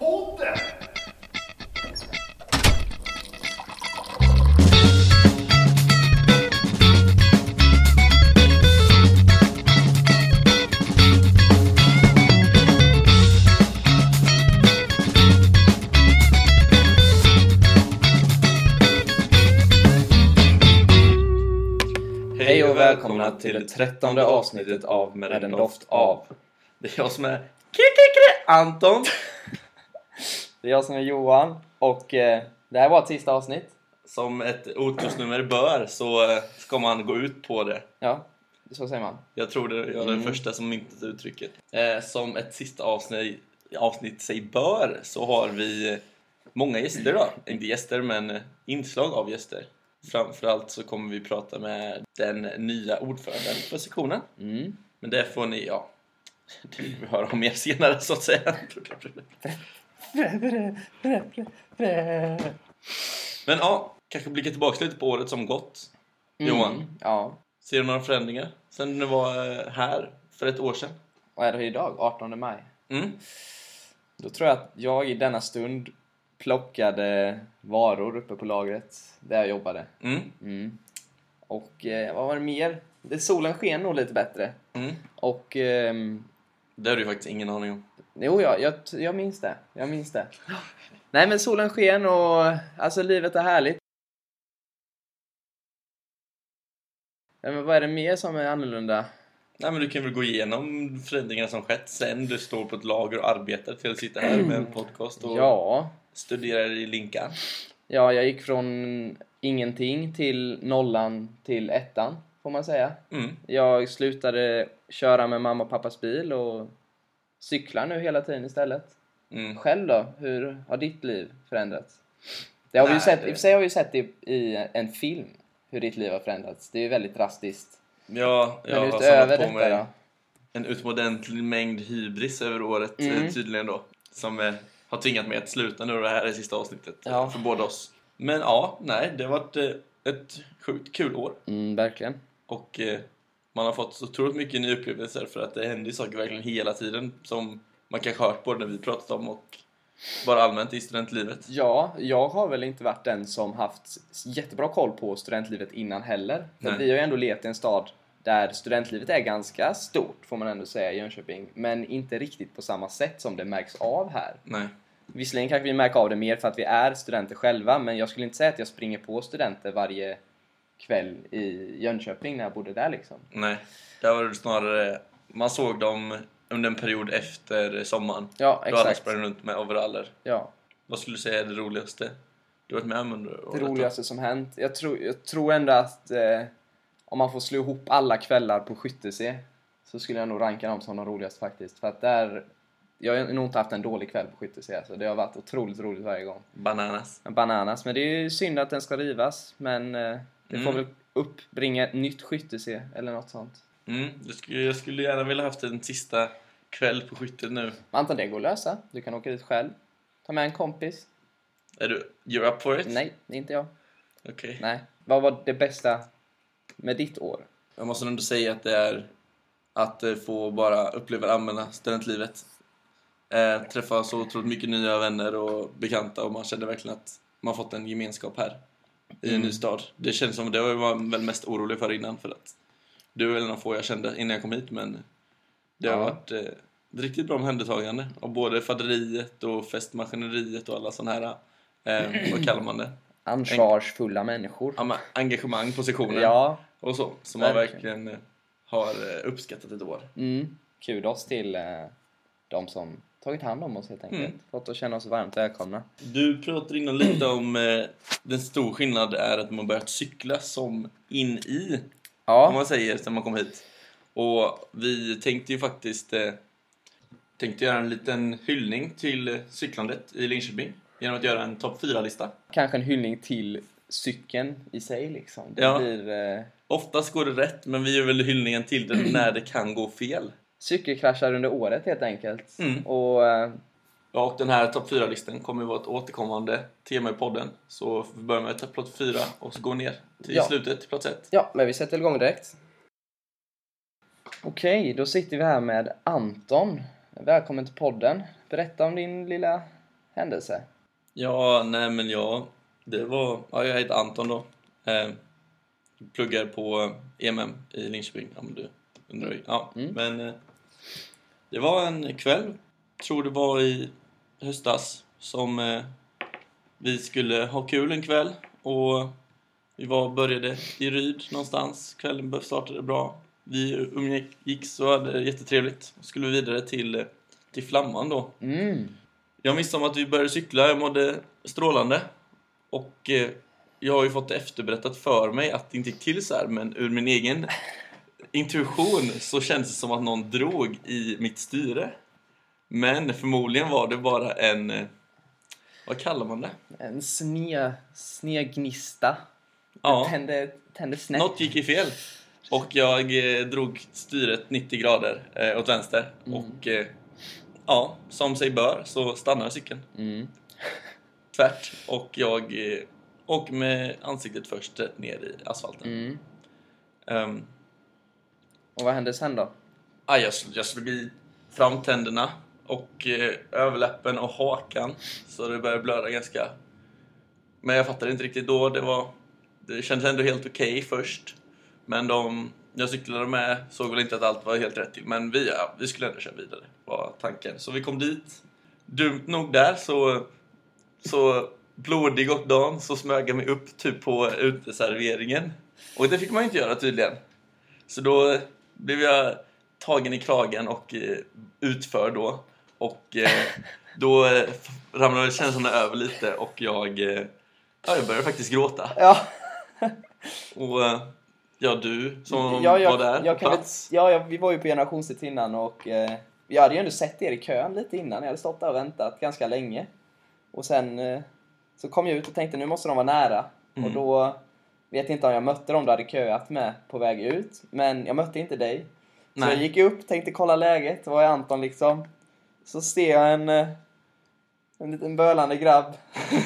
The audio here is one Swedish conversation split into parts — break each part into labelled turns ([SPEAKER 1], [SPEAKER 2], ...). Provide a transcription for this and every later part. [SPEAKER 1] podden!
[SPEAKER 2] Hej och välkomna till det trettonde avsnittet av Med en doft av. Det är jag som är Kikikri Anton.
[SPEAKER 3] Det är jag som är Johan och eh, det här var ett sista avsnitt.
[SPEAKER 2] Som ett otursnummer bör så eh, ska man gå ut på det.
[SPEAKER 3] Ja, så säger man.
[SPEAKER 2] Jag tror det jag är den
[SPEAKER 3] Mm.
[SPEAKER 2] första som myntat uttrycket. Eh, som ett sista avsnitt, avsnitt sig bör så har vi eh, många gäster idag. Inte gäster men eh, inslag av gäster. Framförallt så kommer vi prata med den nya ordföranden för sektionen.
[SPEAKER 3] Mm. Men
[SPEAKER 2] Men det får ni, ja. Det vill vi höra om mer senare så att säga.
[SPEAKER 3] Mm.
[SPEAKER 2] Men ja, kanske blicka tillbaka lite på året som gått. Johan.
[SPEAKER 3] Ja.
[SPEAKER 2] Ser du några förändringar sen du var eh, här för ett år sedan?
[SPEAKER 3] Vad är det idag? 18 maj?
[SPEAKER 2] Mm.
[SPEAKER 3] Då tror jag att jag i denna stund plockade varor uppe på lagret där jag jobbade.
[SPEAKER 2] Mm.
[SPEAKER 3] Mm. Och eh, vad var det mer? Det, solen sken nog lite bättre.
[SPEAKER 2] Mm.
[SPEAKER 3] Och ehm,
[SPEAKER 2] Det har du faktiskt ingen aning om.
[SPEAKER 3] Jo, jag, jag, jag minns det. Jag minns det. Nej, men solen sken och alltså livet är härligt. Ja, men vad är det mer som är annorlunda?
[SPEAKER 2] Nej men du kan väl gå igenom förändringarna som skett sen du står på ett lager och arbetar till att sitta här med en podcast och
[SPEAKER 3] Ja,
[SPEAKER 2] studerar i Linkan.
[SPEAKER 3] ja, jag gick från ingenting till nollan till ettan, får man säga.
[SPEAKER 2] Mm.
[SPEAKER 3] Jag slutade köra med mamma och pappas bil och cyklar nu hela tiden istället.
[SPEAKER 2] Mm.
[SPEAKER 3] Själv då? Hur har ditt liv förändrats? Det har vi ju
[SPEAKER 2] Nej,
[SPEAKER 3] sett,
[SPEAKER 2] det-
[SPEAKER 3] I och för sig har vi ju sett det i, i en film, hur ditt liv har förändrats. Det är ju väldigt drastiskt.
[SPEAKER 2] Ja, jag
[SPEAKER 3] Men
[SPEAKER 2] har
[SPEAKER 3] utöver
[SPEAKER 2] samlat på
[SPEAKER 3] detta
[SPEAKER 2] mig
[SPEAKER 3] då?
[SPEAKER 2] en utomordentlig mängd hybris över året
[SPEAKER 3] Mm.
[SPEAKER 2] eh, tydligen då. Som eh, har tvingat mig att sluta nu och det här är sista avsnittet eh,
[SPEAKER 3] Ja.
[SPEAKER 2] för båda oss. Men ja, nej, det har varit eh, ett sjukt kul år.
[SPEAKER 3] Mm, verkligen.
[SPEAKER 2] Och eh, man har fått så otroligt mycket nya upplevelser för att det händer ju saker verkligen hela tiden som man kanske hört både när vi pratat om och bara allmänt i studentlivet.
[SPEAKER 3] Ja, jag har väl inte varit den som haft s- jättebra koll på studentlivet innan heller. För
[SPEAKER 2] Nej.
[SPEAKER 3] vi har ju ändå levt i en stad där studentlivet är ganska stort, får man ändå säga, i Jönköping. Men inte riktigt på samma sätt som det märks av här.
[SPEAKER 2] Nej.
[SPEAKER 3] Visserligen kanske vi märker av det mer för att vi är studenter själva, men jag skulle inte säga att jag springer på studenter varje kväll i Jönköping när jag bodde där liksom.
[SPEAKER 2] Nej. Där var det snarare, man såg dem under en period efter sommaren.
[SPEAKER 3] Ja,
[SPEAKER 2] Då alla
[SPEAKER 3] exakt.
[SPEAKER 2] sprang runt med overaller.
[SPEAKER 3] Ja.
[SPEAKER 2] Vad skulle du säga är det roligaste du varit med om under
[SPEAKER 3] Det
[SPEAKER 2] året? då?
[SPEAKER 3] roligaste som hänt. Jag tror, jag tror ändå att eh, om man får slå ihop alla kvällar på Skyttese så skulle jag nog ranka dem som de roligaste faktiskt. För att där, jag har nog inte haft en dålig kväll på Skyttese alltså. Det har varit otroligt roligt varje gång.
[SPEAKER 2] Bananas.
[SPEAKER 3] Bananas, men det är ju synd att den ska rivas. Men eh, det
[SPEAKER 2] Mm.
[SPEAKER 3] får väl uppbringa ett nytt Skyttese eller något sånt.
[SPEAKER 2] Mm, det skulle, jag skulle gärna vilja haft en sista kväll på skyttet nu.
[SPEAKER 3] Men Anton, det går att lösa. Du kan åka dit själv. Ta med en kompis.
[SPEAKER 2] Är du, you're up for it?
[SPEAKER 3] Nej, det är inte jag.
[SPEAKER 2] Okej.
[SPEAKER 3] Nej. Vad var det bästa med ditt år?
[SPEAKER 2] Jag måste ändå säga att det är att eh, få bara uppleva det allmänna studentlivet. Eh, träffa så otroligt mycket nya vänner och bekanta och man kände verkligen att man fått en gemenskap här i en
[SPEAKER 3] Mm.
[SPEAKER 2] ny stad. Det känns som det var jag väl mest orolig för innan för att du är en av få jag kände innan jag kom hit men det har
[SPEAKER 3] Ja.
[SPEAKER 2] varit eh, ett riktigt bra omhändertagande av både faderiet och festmaskineriet och alla sådana här, eh, vad kallar man det?
[SPEAKER 3] Ansvarsfulla människor.
[SPEAKER 2] Ja, men Engagemang på sektionen
[SPEAKER 3] Ja.
[SPEAKER 2] och så. Som man
[SPEAKER 3] Verkligen.
[SPEAKER 2] verkligen eh, har eh, uppskattat ett år.
[SPEAKER 3] Mm. Kudos till eh, de som tagit hand om oss helt enkelt.
[SPEAKER 2] Mm.
[SPEAKER 3] Fått oss känna oss varmt välkomna.
[SPEAKER 2] Du pratade innan lite om eh, den stor skillnad är att man börjat cykla som in i, om
[SPEAKER 3] Ja.
[SPEAKER 2] man säger, sen man kom hit. Och vi tänkte ju faktiskt eh, tänkte göra en liten hyllning till eh, cyklandet i Linköping genom att göra en topp 4-lista.
[SPEAKER 3] Kanske en hyllning till cykeln i sig liksom. Det
[SPEAKER 2] Ja.
[SPEAKER 3] blir, eh,
[SPEAKER 2] Oftast går det rätt, men vi gör väl hyllningen till det när det kan gå fel.
[SPEAKER 3] cykelkraschar under året helt enkelt.
[SPEAKER 2] Mm.
[SPEAKER 3] Och eh,
[SPEAKER 2] Ja, och den här topp 4-listan kommer ju vara ett återkommande tema i podden. Så vi börjar med att ta plats 4 och så går ner till
[SPEAKER 3] Ja.
[SPEAKER 2] slutet, till plats 1.
[SPEAKER 3] Ja, men vi sätter igång direkt. Okej, då sitter vi här med Anton. Välkommen till podden. Berätta om din lilla händelse?
[SPEAKER 2] Ja, nej men jag, det var, ja, jag heter Anton då. Eh, pluggar på eh, EMM i Linköping om du undrar. Ja,
[SPEAKER 3] Mm.
[SPEAKER 2] men eh, det var en kväll, tror det var i höstas, som eh, vi skulle ha kul en kväll och vi var, började i Ryd någonstans. Kvällen bör- startade bra. Vi umgicks och hade jättetrevligt. Skulle vidare till, eh, till Flamman då.
[SPEAKER 3] Mm.
[SPEAKER 2] Jag missade om att vi började cykla, jag mådde strålande. Och eh, jag har ju fått det efterberättat för mig att det inte gick till så här, men ur min egen intuition så kändes det som att någon drog i mitt styre. Men förmodligen var det bara en... eh, Vad kallar man det?
[SPEAKER 3] En sne, snegnista.
[SPEAKER 2] Ja,
[SPEAKER 3] Tände, tände snett.
[SPEAKER 2] något gick i fel. Och jag eh, drog styret 90 grader eh, åt vänster.
[SPEAKER 3] Mm.
[SPEAKER 2] Och eh, ja, som sig bör så stannade cykeln.
[SPEAKER 3] Mm.
[SPEAKER 2] tvärt och jag eh, åker med ansiktet först eh, ner i asfalten.
[SPEAKER 3] Mm.
[SPEAKER 2] Ehm,
[SPEAKER 3] Och vad hände sen då?
[SPEAKER 2] aj, jag, sl- jag slog i framtänderna och eh, överläppen och hakan så det började blöda ganska. Men jag fattade inte riktigt då. Det, var, det kändes ändå helt okej först. Men de jag cyklade med såg väl inte att allt var helt rätt till. Men vi, ja, vi skulle ändå köra vidare var tanken. Så vi kom dit. Dumt nog där så så blodig och dan så smög jag mig upp typ på uteserveringen. Och det fick man ju inte göra tydligen. Så då blev jag tagen i kragen och eh, utförd då. Och eh, då eh, f- ramlade känslorna över lite och jag, eh, ja, jag började faktiskt gråta.
[SPEAKER 3] Ja,
[SPEAKER 2] Och eh, ja, du som
[SPEAKER 3] ja, jag,
[SPEAKER 2] var där
[SPEAKER 3] jag
[SPEAKER 2] på
[SPEAKER 3] kan väl,
[SPEAKER 2] plats.
[SPEAKER 3] ja, ja, vi var ju på generationsrätt innan och eh, jag hade ju ändå sett er i kön lite innan. Jag hade stått där och väntat ganska länge. Och sen eh, så kom jag ut och tänkte nu måste de vara nära.
[SPEAKER 2] Mm.
[SPEAKER 3] Och då vet jag inte om jag mötte dem du hade köat med på väg ut. Men jag mötte inte dig. Så
[SPEAKER 2] Nej.
[SPEAKER 3] jag gick upp, tänkte kolla läget. Var är Anton liksom? Så ser jag en, eh, en liten bölande grabb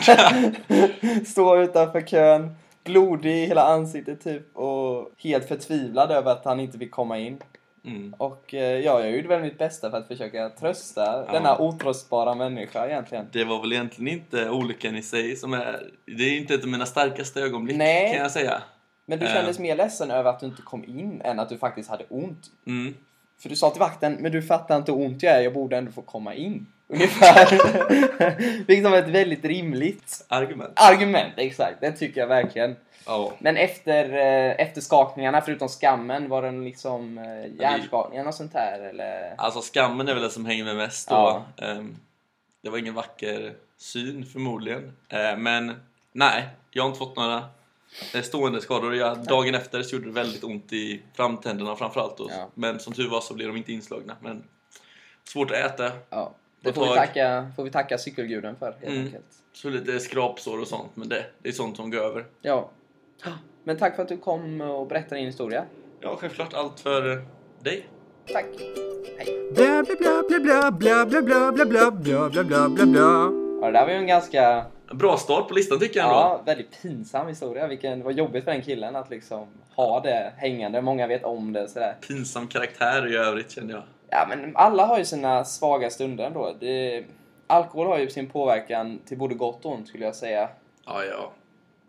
[SPEAKER 3] stå utanför kön. Blodig i hela ansiktet typ och helt förtvivlad över att han inte fick komma in.
[SPEAKER 2] Mm.
[SPEAKER 3] Och eh, ja, jag gjorde väl mitt bästa för att försöka trösta
[SPEAKER 2] Ja.
[SPEAKER 3] denna otröstbara människa egentligen.
[SPEAKER 2] Det var väl egentligen inte olyckan i sig som är... Det är inte ett av mina starkaste ögonblick
[SPEAKER 3] Nej.
[SPEAKER 2] kan jag säga.
[SPEAKER 3] Men du
[SPEAKER 2] Eh.
[SPEAKER 3] kändes mer ledsen över att du inte kom in än att du faktiskt hade ont.
[SPEAKER 2] Mm.
[SPEAKER 3] För du sa till vakten, men du fattar inte hur ont jag är, jag borde ändå få komma in. Ungefär. Vilket var ett väldigt rimligt
[SPEAKER 2] Argument.
[SPEAKER 3] argument, exakt. Det tycker jag verkligen.
[SPEAKER 2] Ja.
[SPEAKER 3] Men efter, eh, efter skakningarna, förutom skammen, var den liksom eh, hjärnskakningar och sånt här eller?
[SPEAKER 2] Alltså skammen är väl det som hänger med mest då.
[SPEAKER 3] Ja.
[SPEAKER 2] Ehm, det var ingen vacker syn förmodligen. Eh, men nej, jag har inte fått några eh, stående skador. Jag, dagen efter så gjorde det väldigt ont i framtänderna framförallt. Då.
[SPEAKER 3] Ja.
[SPEAKER 2] Men som tur var så blev de inte inslagna. Men svårt att äta,
[SPEAKER 3] Ja. Det
[SPEAKER 2] På
[SPEAKER 3] får vi,
[SPEAKER 2] tag.
[SPEAKER 3] tacka, får vi tacka cykelguden för helt
[SPEAKER 2] Mm.
[SPEAKER 3] enkelt.
[SPEAKER 2] så lite skrapsår och sånt. Men det, det är sånt som går över.
[SPEAKER 3] Ja. Men tack för att du kom och berättade din historia.
[SPEAKER 2] Ja, självklart allt för eh, dig.
[SPEAKER 3] Tack. Hej.
[SPEAKER 1] Bla bla bla bla bla bla bla bla bla bla bla bla bla bla.
[SPEAKER 3] Ja, det där var ju en ganska
[SPEAKER 2] Bra start på listan tycker jag ändå.
[SPEAKER 3] ja, väldigt pinsam historia. Vilken, det var jobbigt för den killen att liksom ha det hängande. Många vet om det. Sådär.
[SPEAKER 2] Pinsam karaktär i övrigt känner jag.
[SPEAKER 3] Ja, men alla har ju sina svaga stunder ändå. Det, alkohol har ju sin påverkan till både gott och ont skulle jag säga.
[SPEAKER 2] Ja, ja.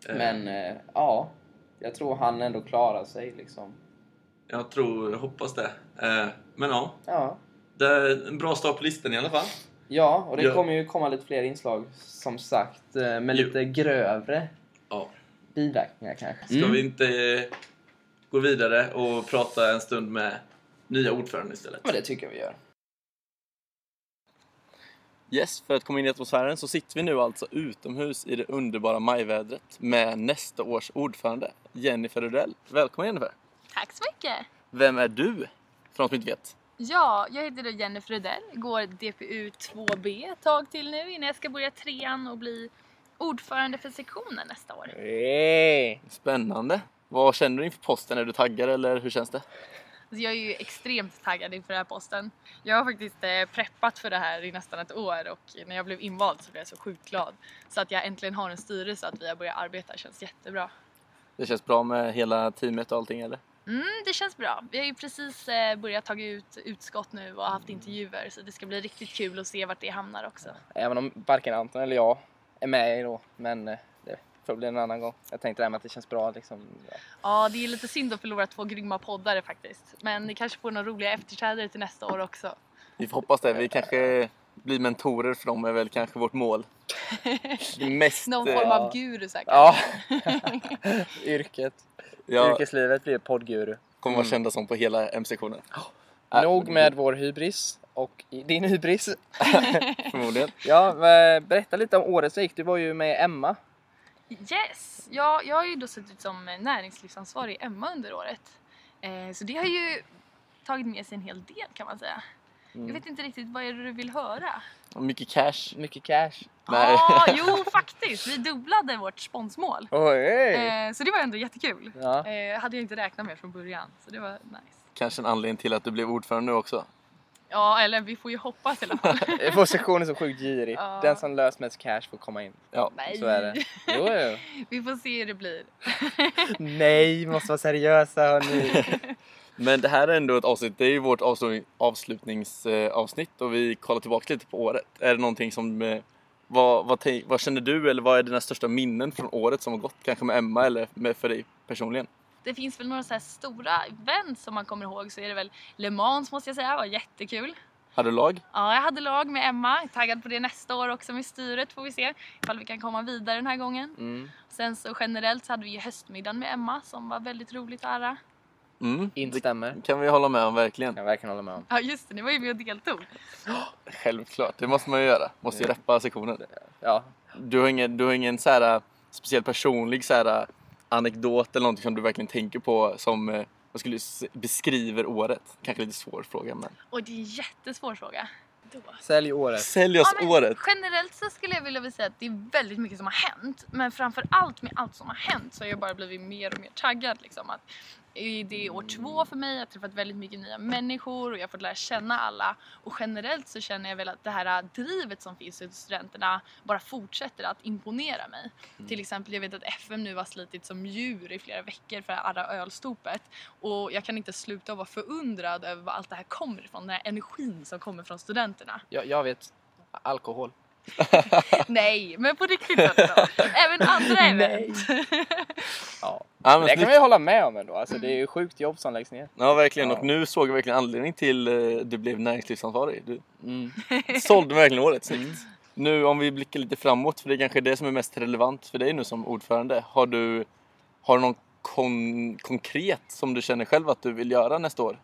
[SPEAKER 2] Eh,
[SPEAKER 3] Men eh, ja, jag tror han ändå klarar sig liksom.
[SPEAKER 2] Jag tror, jag hoppas det. Eh, men ja.
[SPEAKER 3] Ja,
[SPEAKER 2] Det är en bra start på listan i alla fall.
[SPEAKER 3] ja och det
[SPEAKER 2] Ja.
[SPEAKER 3] kommer ju komma lite fler inslag som sagt. eh, Med
[SPEAKER 2] Jo.
[SPEAKER 3] lite grövre
[SPEAKER 2] Ja.
[SPEAKER 3] biverkningar kanske. Mm.
[SPEAKER 2] Ska vi inte eh, gå vidare och prata en stund med nya ordföranden istället?
[SPEAKER 3] Men det tycker jag vi gör.
[SPEAKER 2] Yes, för att komma in i atmosfären så sitter vi nu alltså utomhus i det underbara majvädret med nästa års ordförande, Jennifer Rudell. Välkommen Jennifer!
[SPEAKER 4] Tack så mycket!
[SPEAKER 2] Vem är du? För de som inte vet.
[SPEAKER 4] Ja, jag heter då Jennifer Rudell, går DPU 2B ett tag till nu innan jag ska börja trean och bli ordförande för sektionen nästa år.
[SPEAKER 2] Spännande! Vad känner du inför posten? Är du taggad eller hur känns det?
[SPEAKER 4] Så Alltså, jag är ju extremt taggad inför den här posten. Jag har faktiskt eh, preppat för det här i nästan ett år och när jag blev invald så blev jag så sjukt glad. Så att jag äntligen har en styrelse och att vi har börjat arbeta känns jättebra.
[SPEAKER 2] Det känns bra med hela teamet och allting eller?
[SPEAKER 4] Mm, det känns bra. Vi har ju precis eh, börjat ta ut utskott nu och haft intervjuer så det ska bli riktigt kul att se vart det hamnar också.
[SPEAKER 3] Även om varken Anton eller jag är med i då. Men eh, det får bli en annan gång. Jag tänkte det här med att det känns bra liksom. Ja.
[SPEAKER 4] Ja, det är lite synd att förlora två grymma poddare faktiskt. Men ni kanske får några roliga efterträdare till nästa år också.
[SPEAKER 5] Vi får hoppas det. Vi kanske blir mentorer för dem är väl kanske vårt mål. Det Mest...
[SPEAKER 4] Någon
[SPEAKER 5] eh,
[SPEAKER 4] form
[SPEAKER 3] Ja.
[SPEAKER 4] av guru säkert.
[SPEAKER 3] Ja, yrket.
[SPEAKER 5] Ja,
[SPEAKER 3] Yrkeslivet blir poddguru.
[SPEAKER 5] kommer vara kända som på hela MC-sektionen.
[SPEAKER 3] Nog med vår hybris och i- din hybris.
[SPEAKER 5] Förmodligen.
[SPEAKER 3] Ja, men berätta lite om året som gick. Du var ju med Emma.
[SPEAKER 4] Yes! Ja, jag har ju då suttit som näringslivsansvarig i Emma under året. Eh, så det har ju tagit med sig en hel del kan man säga. Jag
[SPEAKER 3] Mm.
[SPEAKER 4] vet inte riktigt vad är det du vill höra?
[SPEAKER 5] Och Mycket cash.
[SPEAKER 3] Mycket cash.
[SPEAKER 5] Nej.
[SPEAKER 4] Ja, jo faktiskt! Vi dubblade vårt sponsmål.
[SPEAKER 3] Oj!
[SPEAKER 4] Eh, så det var ändå jättekul.
[SPEAKER 3] Ja.
[SPEAKER 4] Eh, hade jag inte räknat med från början, så det var nice.
[SPEAKER 5] Kanske en anledning till att du blev ordförande nu också.
[SPEAKER 4] Ja, eller vi får ju hoppas i alla fall.
[SPEAKER 3] Eh, Vår sektion är så sjukt girig.
[SPEAKER 4] Ja.
[SPEAKER 3] Den som löst mest cash får komma in.
[SPEAKER 5] Ja.
[SPEAKER 4] Nej,
[SPEAKER 3] Så är det. Jo, jo.
[SPEAKER 4] vi får se hur det blir.
[SPEAKER 3] Nej, vi måste vara seriösa hörni.
[SPEAKER 5] Men det här är ändå ett avsnitt. Det är ju vårt avslu- avslutningsavsnitt och vi kollar tillbaka lite på året. Är det någonting som... eh, Vad, vad, tänk- vad känner du eller vad är dina största minnen från året som har gått? Kanske med Emma eller med, för dig personligen?
[SPEAKER 4] Det finns väl några så här stora event som man kommer ihåg så är det väl Le Mans måste jag säga, var jättekul.
[SPEAKER 5] Hade du lag?
[SPEAKER 4] Ja, jag hade lag med Emma, Jag är taggad på det nästa år också med styret får vi se ifall vi kan komma vidare den här gången.
[SPEAKER 3] Mm.
[SPEAKER 4] Sen så generellt så hade vi ju höstmiddagen med Emma som var väldigt roligt att ära.
[SPEAKER 5] Mm. Det
[SPEAKER 3] Instämmer.
[SPEAKER 5] kan vi hålla med om verkligen.
[SPEAKER 3] Jag verkligen håller med om.
[SPEAKER 4] Ja just det, ni var ju med och deltog.
[SPEAKER 5] Självklart, det måste man ju göra. Måste ju reppa sektionen.
[SPEAKER 3] Ja,
[SPEAKER 5] Du har ingen, du har ingen så här, äh, speciell personlig så här, äh, anekdot eller någonting som du verkligen tänker på som eh, vad skulle du s- beskriver året? Kanske lite svår fråga men.
[SPEAKER 4] Och det är en jättesvår fråga. Då.
[SPEAKER 3] sälj året.
[SPEAKER 5] Sälj oss
[SPEAKER 4] Ja, men
[SPEAKER 5] året!
[SPEAKER 4] Generellt så skulle jag vilja säga att det är väldigt mycket som har hänt. Men framför allt med allt som har hänt så har jag bara blivit mer och mer taggad. Liksom, att i- det är år två för mig, jag har träffat väldigt mycket nya människor och jag har fått lära känna alla. Och generellt så känner jag väl att det här äh, drivet som finns ute hos studenterna bara fortsätter att imponera mig. Till exempel, jag vet att FM nu har slitit som djur i flera veckor för att arra ölstopet. Och jag kan inte sluta att vara förundrad över var allt det här kommer ifrån. Den här energin som kommer från studenterna.
[SPEAKER 3] Jag, jag vet. Alkohol.
[SPEAKER 4] Nej, men på riktigt alltså. Även andra event.
[SPEAKER 3] Ja.
[SPEAKER 5] Ja, men Mm.
[SPEAKER 3] Det kan
[SPEAKER 5] snyggt.
[SPEAKER 3] man ju hålla med om ändå. Alltså, det är ju sjukt jobb som läggs ner.
[SPEAKER 5] ja verkligen
[SPEAKER 3] Ja.
[SPEAKER 5] och nu såg jag verkligen anledning till eh, du blev näringslivsansvarig. Du
[SPEAKER 3] Mm.
[SPEAKER 5] sålde verkligen året, snyggt. Nu om vi blickar lite framåt för det är kanske är det som är mest relevant för dig nu som ordförande. Har du, har du någon kon- konkret som du känner själv att du vill göra nästa år?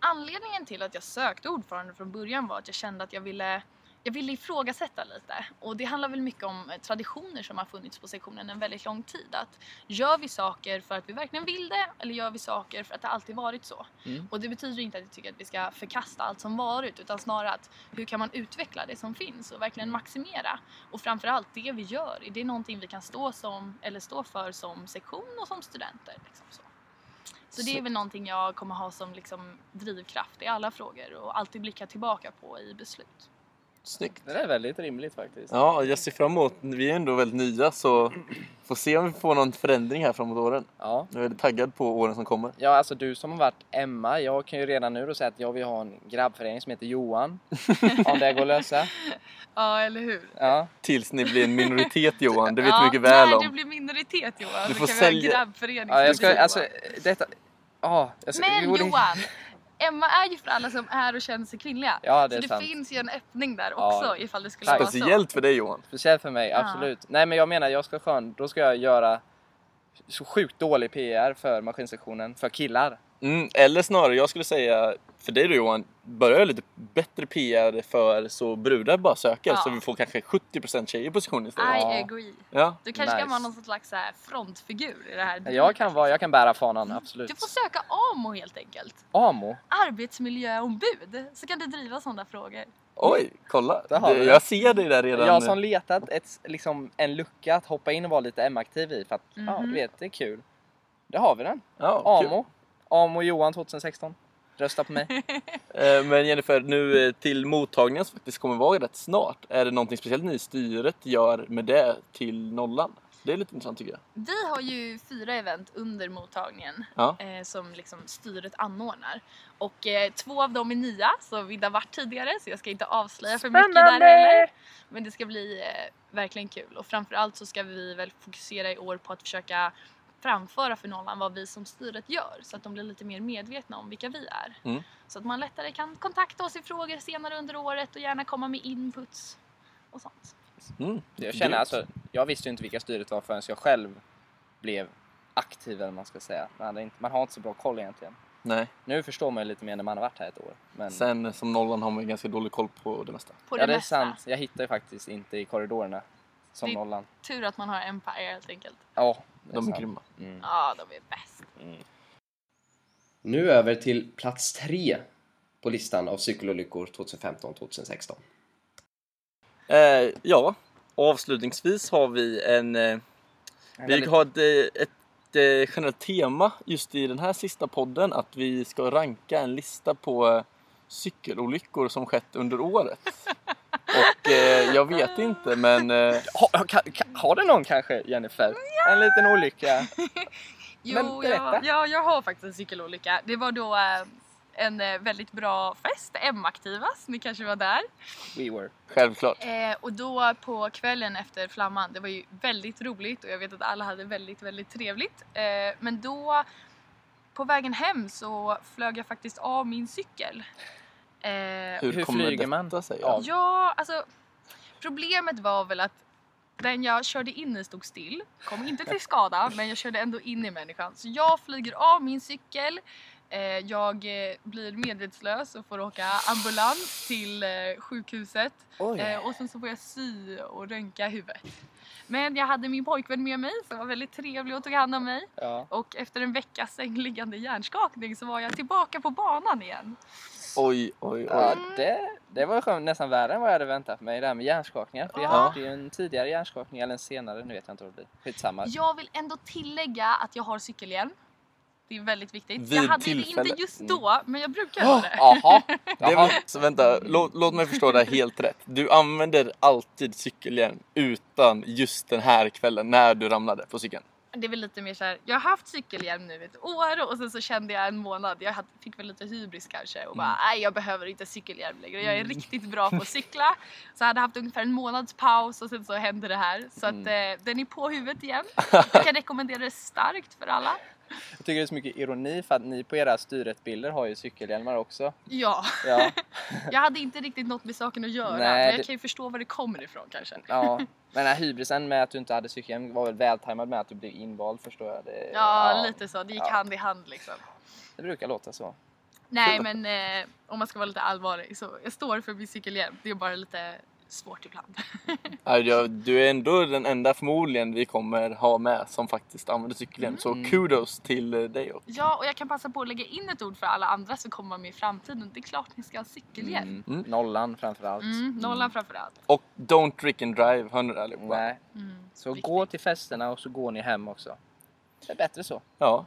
[SPEAKER 4] Anledningen till att jag sökte ordförande från början var att jag kände att jag ville jag ville ifrågasätta lite och det handlar väl mycket om eh, traditioner som har funnits på sektionen en väldigt lång tid. Att gör vi saker för att vi verkligen vill det eller gör vi saker för att det alltid varit så?
[SPEAKER 3] Mm.
[SPEAKER 4] Och det betyder inte att jag tycker att vi ska förkasta allt som varit utan snarare att hur kan man utveckla det som finns och verkligen maximera? Och framförallt det vi gör, är det någonting vi kan stå, som, eller stå för som sektion och som studenter? Liksom så. Så det är väl någonting jag kommer ha som liksom drivkraft i alla frågor och alltid blicka tillbaka på i beslut.
[SPEAKER 5] Snyggt!
[SPEAKER 3] Det där är väldigt rimligt faktiskt.
[SPEAKER 5] Ja, jag ser fram emot. Vi är ändå väldigt nya så får se om vi får någon förändring här framåt åren.
[SPEAKER 3] Ja.
[SPEAKER 5] Jag är väldigt taggad på åren som kommer.
[SPEAKER 3] Ja, alltså du som har varit Emma, jag kan ju redan nu då säga att jag vill ha en grabbförening som heter Johan. om det går att lösa.
[SPEAKER 4] Ja, eller hur?
[SPEAKER 3] Ja.
[SPEAKER 5] Tills ni blir en minoritet Johan, det vet
[SPEAKER 4] ja,
[SPEAKER 5] du mycket väl
[SPEAKER 4] när det
[SPEAKER 5] om.
[SPEAKER 4] blir minoritet Johan
[SPEAKER 5] Du
[SPEAKER 4] så
[SPEAKER 5] får
[SPEAKER 4] kan vi
[SPEAKER 5] sälja-
[SPEAKER 4] ha en grabbförening.
[SPEAKER 3] ja jag
[SPEAKER 4] som
[SPEAKER 3] ska,
[SPEAKER 4] Johan.
[SPEAKER 3] alltså detta... Ja, jag ska, vi
[SPEAKER 4] Men
[SPEAKER 3] borde-
[SPEAKER 4] Johan! Emma är ju för alla som är och känner sig kvinnliga.
[SPEAKER 3] Ja, det är
[SPEAKER 4] så
[SPEAKER 3] sant.
[SPEAKER 4] det finns ju en öppning där
[SPEAKER 3] Ja. Alltså,
[SPEAKER 4] också ifall det skulle vara så.
[SPEAKER 5] Speciellt för dig Johan.
[SPEAKER 3] Speciellt för mig,
[SPEAKER 4] Ja.
[SPEAKER 3] absolut. Nej men jag menar, jag ska skön, då ska jag göra så sjukt dålig PR för maskinsektionen för killar.
[SPEAKER 5] Mm, eller snarare, jag skulle säga för dig då Johan, börja lite bättre PR för så brudar bara söker
[SPEAKER 4] Ja.
[SPEAKER 5] så vi får kanske 70% tjejer i position istället.
[SPEAKER 4] I
[SPEAKER 3] Ja.
[SPEAKER 4] agree.
[SPEAKER 5] Ja.
[SPEAKER 4] Du kanske kan
[SPEAKER 3] Nice.
[SPEAKER 4] vara någon slags så här frontfigur i det här.
[SPEAKER 3] Jag kan vara, jag kan bära fanan, absolut.
[SPEAKER 4] Mm. Du får söka AMO helt enkelt.
[SPEAKER 3] AMO?
[SPEAKER 4] Arbetsmiljöombud. Så kan du driva sådana frågor.
[SPEAKER 5] Oj, kolla!
[SPEAKER 3] Där har
[SPEAKER 5] Det-
[SPEAKER 3] vi det.
[SPEAKER 5] Jag ser dig där redan.
[SPEAKER 3] Jag som letat ett, liksom, en lucka att hoppa in och vara lite M-aktiv i för att, ja du
[SPEAKER 4] Mhm.
[SPEAKER 3] vet, det är kul. Där har vi den.
[SPEAKER 5] ja, kul.
[SPEAKER 3] AMO. AMO Johan 2016. Rösta på mig.
[SPEAKER 5] Eh, Men Jennifer, nu eh, till mottagningen som faktiskt kommer vara rätt snart. Är det någonting speciellt ni i styret gör med det till nollan? Det är lite intressant tycker jag.
[SPEAKER 4] Vi har ju fyra event under mottagningen
[SPEAKER 5] Ja.
[SPEAKER 4] eh, som liksom styret anordnar. Och eh, två av dem är nya som inte har varit tidigare så jag ska inte avslöja för mycket där heller. Men det ska bli eh, verkligen kul och framförallt så ska vi väl fokusera i år på att försöka framföra för Nollan vad vi som styret gör så att de blir lite mer medvetna om vilka vi är.
[SPEAKER 5] Mm.
[SPEAKER 4] Så att man lättare kan kontakta oss i frågor senare under året och gärna komma med inputs och sånt.
[SPEAKER 5] Mm.
[SPEAKER 3] Jag känner
[SPEAKER 5] Grymt.
[SPEAKER 3] alltså, jag visste ju inte vilka styret var förrän jag själv blev aktiv eller vad man ska säga. Man, hade inte, man har inte så bra koll egentligen.
[SPEAKER 5] Nej.
[SPEAKER 3] Nu förstår man ju lite mer när man har varit här ett år. Men,
[SPEAKER 5] Sen som nollan har man ganska dålig koll på det mesta.
[SPEAKER 4] På
[SPEAKER 3] ja,
[SPEAKER 4] det,
[SPEAKER 3] det är
[SPEAKER 4] mesta.
[SPEAKER 3] sant. Jag hittar ju faktiskt inte i korridorerna som
[SPEAKER 4] Det-
[SPEAKER 3] nollan.
[SPEAKER 4] Tur att man har Empire helt enkelt.
[SPEAKER 3] Ja, det
[SPEAKER 5] De är
[SPEAKER 3] sant.
[SPEAKER 5] grymma.
[SPEAKER 3] Mm.
[SPEAKER 4] Ja, de är bäst.
[SPEAKER 6] Nu över till plats tre på listan av cykelolyckor 2015-2016.
[SPEAKER 5] Eh, ja, avslutningsvis har vi en... Eh,
[SPEAKER 3] En
[SPEAKER 5] vi
[SPEAKER 3] väldigt-
[SPEAKER 5] har ett, eh, ett eh, generellt tema just i den här sista podden att vi ska ranka en lista på eh, cykelolyckor som skett under året. Och eh, jag vet inte men... Eh,
[SPEAKER 3] Ha, ha- kan, kan, har du någon kanske, Jennifer? En liten olycka? Men
[SPEAKER 4] Jo,
[SPEAKER 3] berätta.
[SPEAKER 4] jag, ja, jag har faktiskt en cykelolycka. Det var då eh, en eh, väldigt bra fest, M-aktivas, ni kanske var där.
[SPEAKER 3] We were.
[SPEAKER 5] självklart.
[SPEAKER 4] Eh, och då på kvällen efter flamman, det var ju väldigt roligt och jag vet att alla hade väldigt, väldigt trevligt. Eh, men då på vägen hem så flög jag faktiskt av min cykel. Eh,
[SPEAKER 5] Hur,
[SPEAKER 3] Hur
[SPEAKER 5] kommer
[SPEAKER 3] flyger
[SPEAKER 5] detta
[SPEAKER 3] man?
[SPEAKER 5] sig?
[SPEAKER 3] Ja.
[SPEAKER 4] Ja, alltså problemet var väl att den jag körde in i stod still, kom inte till skada men jag körde ändå in i människan. Så jag flyger av min cykel, eh, jag eh, blir medvetslös och får åka ambulans till eh, sjukhuset
[SPEAKER 3] Oj.
[SPEAKER 4] eh, och sen så får jag sy och röntga huvudet. Men jag hade min pojkvän med mig som var väldigt trevlig och tog hand om mig
[SPEAKER 3] Ja.
[SPEAKER 4] och efter en veckas sängliggande hjärnskakning så var jag tillbaka på banan igen.
[SPEAKER 5] Oj, oj, oj.
[SPEAKER 3] Ja, det, det var skönt, nästan värre än vad jag hade väntat mig det här med hjärnskakningar. För jag
[SPEAKER 4] Ja.
[SPEAKER 3] hade ju en tidigare hjärnskakning eller en senare, nu vet jag inte vad det blir. Skitsamma.
[SPEAKER 4] Jag vill ändå tillägga att jag har cykelhjälm. Det är väldigt viktigt.
[SPEAKER 5] Vid
[SPEAKER 4] jag hade
[SPEAKER 5] tillfälle. Ah!
[SPEAKER 4] det inte just då, men jag brukar ha det.
[SPEAKER 3] Jaha,
[SPEAKER 5] Det
[SPEAKER 3] jaha.
[SPEAKER 5] var, så vänta, låt, låt mig förstå det här helt rätt. Du använder alltid cykelhjälm utan just den här kvällen när du ramlade på cykeln.
[SPEAKER 4] Det är väl lite mer så här, jag har haft cykelhjälm nu ett år och sen så kände jag en månad, jag hade- fick väl lite hybris kanske och bara nej jag behöver inte cykelhjälm längre, jag är riktigt bra på att cykla. Så jag hade haft ungefär en månads paus och sen så hände det här. Så att eh, den är på huvudet igen. Jag kan rekommendera det starkt för alla.
[SPEAKER 3] Jag tycker det är så mycket ironi för att ni på era styretbilder har ju cykelhjälmar också.
[SPEAKER 4] Ja,
[SPEAKER 3] Ja,
[SPEAKER 4] jag hade inte riktigt något med saken att göra
[SPEAKER 3] Nej,
[SPEAKER 4] men jag
[SPEAKER 3] det-
[SPEAKER 4] kan ju förstå var det kommer ifrån kanske.
[SPEAKER 3] ja. Men den här hybrisen med att du inte hade cykelhjälm var väl vältajmad med att du blev invald förstår jag. Det,
[SPEAKER 4] Ja, lite så. Det gick
[SPEAKER 3] Ja.
[SPEAKER 4] hand i hand liksom.
[SPEAKER 3] Det brukar låta så.
[SPEAKER 4] Nej, men eh, om man ska vara lite allvarlig så jag står för min cykelhjälm. Det är bara lite svårt ibland.
[SPEAKER 5] Ja, jag- Du är ändå den enda förmodligen vi kommer ha med som faktiskt använder cykelhjälm. Så
[SPEAKER 3] Mm.
[SPEAKER 5] kudos till eh, dig. också.
[SPEAKER 4] Ja, och jag kan passa på att lägga in ett ord för alla andra som kommer vara med i framtiden. Det är klart ni ska ha cykelhjälm.
[SPEAKER 3] Mm. Nollan framförallt.
[SPEAKER 4] Mm, nollan framförallt.
[SPEAKER 5] Och don't drink and drive, hör ni det allihopa?
[SPEAKER 3] Nej.
[SPEAKER 4] Mm.
[SPEAKER 3] Så
[SPEAKER 4] Viktigt.
[SPEAKER 3] gå till festerna och så går ni hem också. Det är bättre så.
[SPEAKER 5] Ja.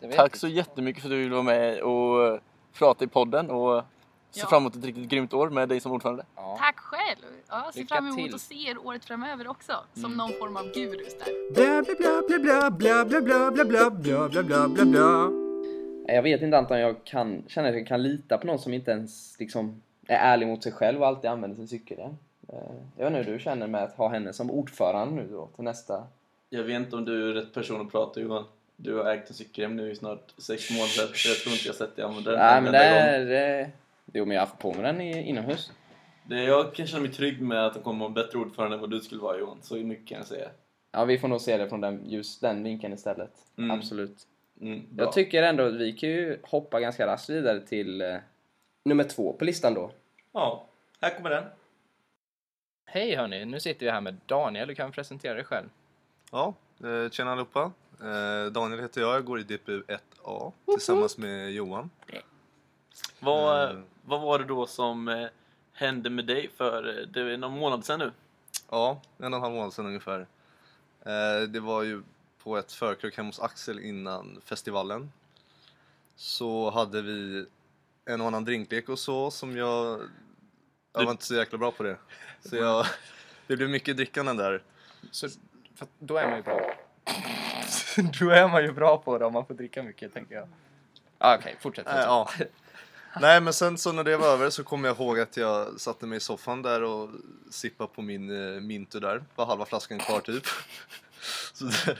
[SPEAKER 3] Det vet
[SPEAKER 5] Tack
[SPEAKER 3] vi.
[SPEAKER 5] så jättemycket för att du ville vara med och eh, prata i podden och ser
[SPEAKER 4] Ja.
[SPEAKER 5] fram emot ett riktigt grymt år med dig som ordförande.
[SPEAKER 3] Ja.
[SPEAKER 4] Tack själv! Ja, jag ser
[SPEAKER 3] Lycka
[SPEAKER 4] fram emot
[SPEAKER 3] till. Mm.
[SPEAKER 4] att se er året framöver också. Som någon form av gurus där.
[SPEAKER 1] Bla bla bla bla bla bla bla bla bla bla bla bla bla bla.
[SPEAKER 6] Jag vet inte Anton, jag kan, känner att jag kan lita på någon som inte ens liksom, är ärlig mot sig själv och alltid använder sin cykelhjälm. Eh, Jag vet inte hur du känner med att ha henne som ordförande nu då till nästa.
[SPEAKER 2] Jag vet inte om du är rätt person att prata Johan. Du har ägt en cykelhjälm nu i snart sex månader. Jag tror inte jag sett dig använda den
[SPEAKER 6] Nej men det
[SPEAKER 2] enda gång.
[SPEAKER 6] är... eh, Jo men jag har haft på mig den i, inomhus.
[SPEAKER 2] Det, jag kan känna mig trygg med att de kommer vara en bättre ordförande än vad du skulle vara Johan. Så mycket kan jag säga.
[SPEAKER 6] Ja vi får nog se det från den, just den vinkeln istället.
[SPEAKER 2] Mm.
[SPEAKER 6] Absolut.
[SPEAKER 2] Mm, bra.
[SPEAKER 6] Jag tycker ändå att vi kan ju hoppa ganska raskt vidare till eh, nummer två på listan då.
[SPEAKER 2] Ja, här kommer den.
[SPEAKER 3] Hej hörni, nu sitter vi här med Daniel. Du kan presentera dig själv.
[SPEAKER 7] Ja, eh, tjena allihopa. Eh, Daniel heter jag, jag går i DPU 1A tillsammans med Johan.
[SPEAKER 5] Vad,
[SPEAKER 7] Mm.
[SPEAKER 5] vad var det då som eh, hände med dig för eh, det är någon månad sedan nu?
[SPEAKER 7] Ja, en och en halv månad sedan ungefär. Eh, det var ju på ett förkrök hemma hos Axel innan festivalen. Så hade vi en och annan drinklek och så som jag... Jag var inte så jäkla bra på det. Så jag, det blev mycket drickande där.
[SPEAKER 3] Så För att då är man ju bra. då är man ju bra på det om man får dricka mycket, tänker jag. Ah, Okej, fortsätt.
[SPEAKER 7] Nej,
[SPEAKER 3] fortsätt.
[SPEAKER 7] Eh, ja. Nej men sen så när det var över så kom jag ihåg att jag satte mig i soffan där och sippade på min eh, Mintu där. Var halva flaskan kvar typ. Så den,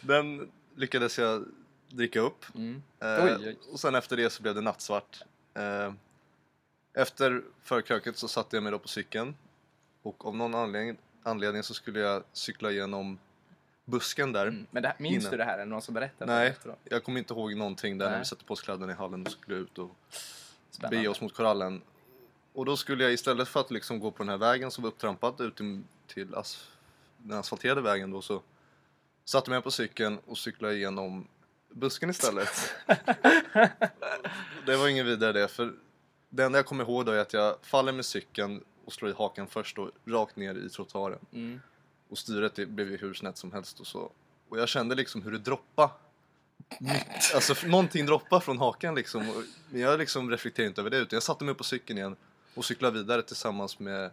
[SPEAKER 7] den lyckades jag dricka upp.
[SPEAKER 3] Mm.
[SPEAKER 7] Eh,
[SPEAKER 3] Oj, oj.
[SPEAKER 7] Och sen efter det så blev det nattsvart. Eh, efter förkröket så satte jag mig då på cykeln. Och av någon anledning, anledning så skulle jag cykla igenom busken där.
[SPEAKER 3] Mm. Men det, här- minns
[SPEAKER 7] Innan.
[SPEAKER 3] du det här? Är det någon som berättar?
[SPEAKER 7] Nej.
[SPEAKER 3] För dig efteråt?
[SPEAKER 7] Jag kommer inte ihåg någonting där när
[SPEAKER 3] Nej.
[SPEAKER 7] vi satte på oss kläderna i hallen och skulle ut och
[SPEAKER 3] Spännande.
[SPEAKER 7] bege oss mot korallen. Och då skulle jag istället för att liksom gå på den här vägen som var upptrampad ut till- till asf- den asfalterade vägen då så satte jag mig på cykeln och cyklade igenom busken istället. det var ingen vidare det för det enda jag kommer ihåg då är att jag faller med cykeln och slår i hakan först då rakt ner i trottoaren.
[SPEAKER 3] Mm.
[SPEAKER 7] Och styret det blev ju hur snett som helst och så. Och jag kände liksom hur det droppade. Mitt, alltså f- någonting droppade från hakan liksom. Och- Men jag liksom reflekterade inte över det utan jag satte mig upp på cykeln igen och cyklade vidare tillsammans med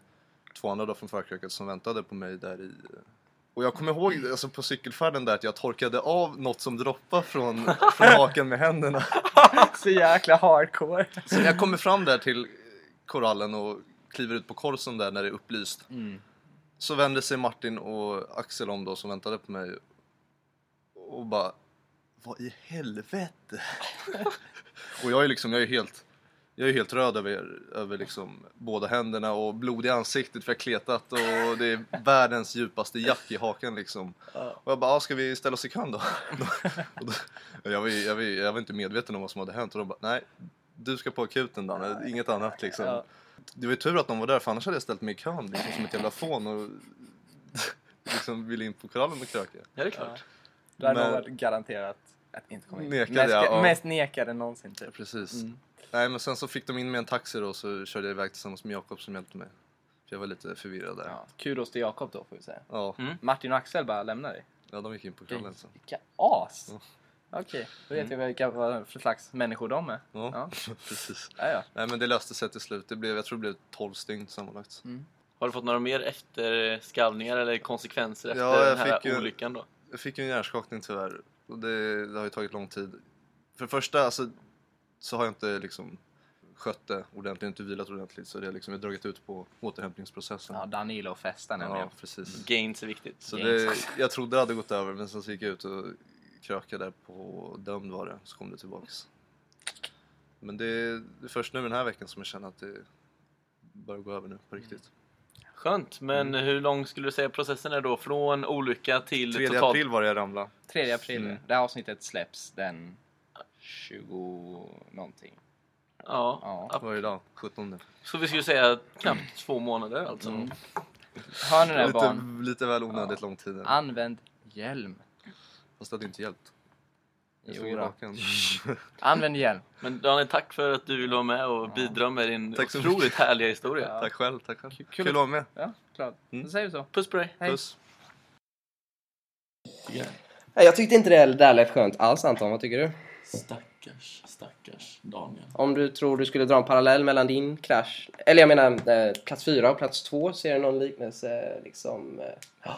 [SPEAKER 7] två andra då från förkröket som väntade på mig där i och jag kommer ihåg alltså, på cykelfärden där att jag torkade av något som droppade från, från hakan med händerna.
[SPEAKER 3] Så jäkla hardcore.
[SPEAKER 7] Så när jag kommer fram där till korallen och kliver ut på korsen där när det är upplyst
[SPEAKER 3] Mm.
[SPEAKER 7] så vänder sig Martin och Axel om då som väntade på mig och bara Vad i helvete? och jag är liksom, jag är helt jag är helt röd över, över liksom båda händerna och blod i ansiktet för jag har kletat och det är världens djupaste jack i hakan liksom. Och jag bara, "Ah, ska vi ställa oss i kön då? och då jag, var, ju- jag, var, ju- jag var inte medveten om vad som hade hänt och de bara, nej du ska på akuten Danne, inget annat liksom.
[SPEAKER 3] Ja.
[SPEAKER 7] Det var ju tur att de var där för annars hade jag ställt mig i kön liksom, som ett jävla fån och liksom ville in på korallen och kröka.
[SPEAKER 2] Ja, det är klart.
[SPEAKER 3] Du hade
[SPEAKER 7] Men-
[SPEAKER 3] nog varit garanterat att inte komma in.
[SPEAKER 7] Nekade,
[SPEAKER 3] mest,
[SPEAKER 7] ja, ja.
[SPEAKER 3] mest nekade någonsin typ.
[SPEAKER 7] Precis.
[SPEAKER 3] Mm.
[SPEAKER 7] Nej men sen så fick de in mig i en taxi då så körde jag iväg tillsammans med Jakob som hjälpte mig. För jag var lite förvirrad där. Ja,
[SPEAKER 3] Ja. Kudos till Jakob då får vi säga.
[SPEAKER 7] ja,
[SPEAKER 3] Martin och Axel bara lämnar dig.
[SPEAKER 7] de gick in på korallen sen.
[SPEAKER 3] Vilka as!
[SPEAKER 7] Mm.
[SPEAKER 3] Okej, då vet jag vilka vad för slags människor de är.
[SPEAKER 7] Ja,
[SPEAKER 3] Ja.
[SPEAKER 7] precis.
[SPEAKER 3] Ja, ja.
[SPEAKER 7] Nej men det löste sig till slut. Det blev, jag tror det blev 12 stygn sammanlagt.
[SPEAKER 5] Har du fått några mer efterskalvningar eller konsekvenser efter
[SPEAKER 7] Ja, jag
[SPEAKER 5] den här
[SPEAKER 7] fick ju-
[SPEAKER 5] olyckan då?
[SPEAKER 7] Jag fick ju en hjärnskakning tyvärr. Och det, det har ju tagit lång tid. För det första alltså, så har jag inte liksom skött det ordentligt, inte vilat ordentligt. Så det har liksom dragit ut på återhämtningsprocessen.
[SPEAKER 3] ja Danilo festar nämligen.
[SPEAKER 7] Ja, precis.
[SPEAKER 5] Gains är viktigt.
[SPEAKER 7] Så
[SPEAKER 3] Gängs.
[SPEAKER 7] det, jag trodde det hade gått över men sen så gick jag ut och krökade där på Dömd var det, så kom det tillbaks. Men det är, det är först nu den här veckan som jag känner att det börjar gå över nu på
[SPEAKER 3] Mm.
[SPEAKER 7] riktigt.
[SPEAKER 5] Skönt, men
[SPEAKER 7] Mm.
[SPEAKER 5] hur lång skulle du säga processen är då? Från olycka till
[SPEAKER 7] 3
[SPEAKER 5] totalt...
[SPEAKER 7] april var det jag ramlade.
[SPEAKER 3] 3 april.
[SPEAKER 7] Mm.
[SPEAKER 3] Det här avsnittet släpps den 20 någonting.
[SPEAKER 5] Ja.
[SPEAKER 3] Ja.
[SPEAKER 5] Ja.
[SPEAKER 7] Var det idag? 17.
[SPEAKER 5] Så vi skulle säga knappt två månader alltså.
[SPEAKER 3] Mm. Hör ni det här
[SPEAKER 7] Lite,
[SPEAKER 3] barn?
[SPEAKER 7] lite väl onödigt lång tid. än.
[SPEAKER 3] Använd hjälm.
[SPEAKER 7] Fast det hade inte hjälpt. Jag
[SPEAKER 3] Jo
[SPEAKER 7] slog i
[SPEAKER 3] då.
[SPEAKER 7] raken.
[SPEAKER 3] Använd hjälm.
[SPEAKER 5] Men Daniel, tack för att du ville vara med och bidra med din
[SPEAKER 7] Tack så
[SPEAKER 5] otroligt
[SPEAKER 7] mycket.
[SPEAKER 5] härliga historia.
[SPEAKER 3] Ja.
[SPEAKER 7] Tack själv, tack själv. Kul,
[SPEAKER 3] kul
[SPEAKER 7] att vara med.
[SPEAKER 3] Ja, klart.
[SPEAKER 7] Mm.
[SPEAKER 3] Då säger vi så.
[SPEAKER 5] Puss på dig!
[SPEAKER 3] Hej.
[SPEAKER 7] Puss.
[SPEAKER 3] Nej, jag tyckte inte det där lät skönt alls Anton, vad tycker du?
[SPEAKER 2] Stackars, stackars Daniel.
[SPEAKER 3] Om du tror du skulle dra en parallell mellan din krasch, eller jag menar eh, plats 4 och plats 2, ser du någon liknelse liksom? Eh,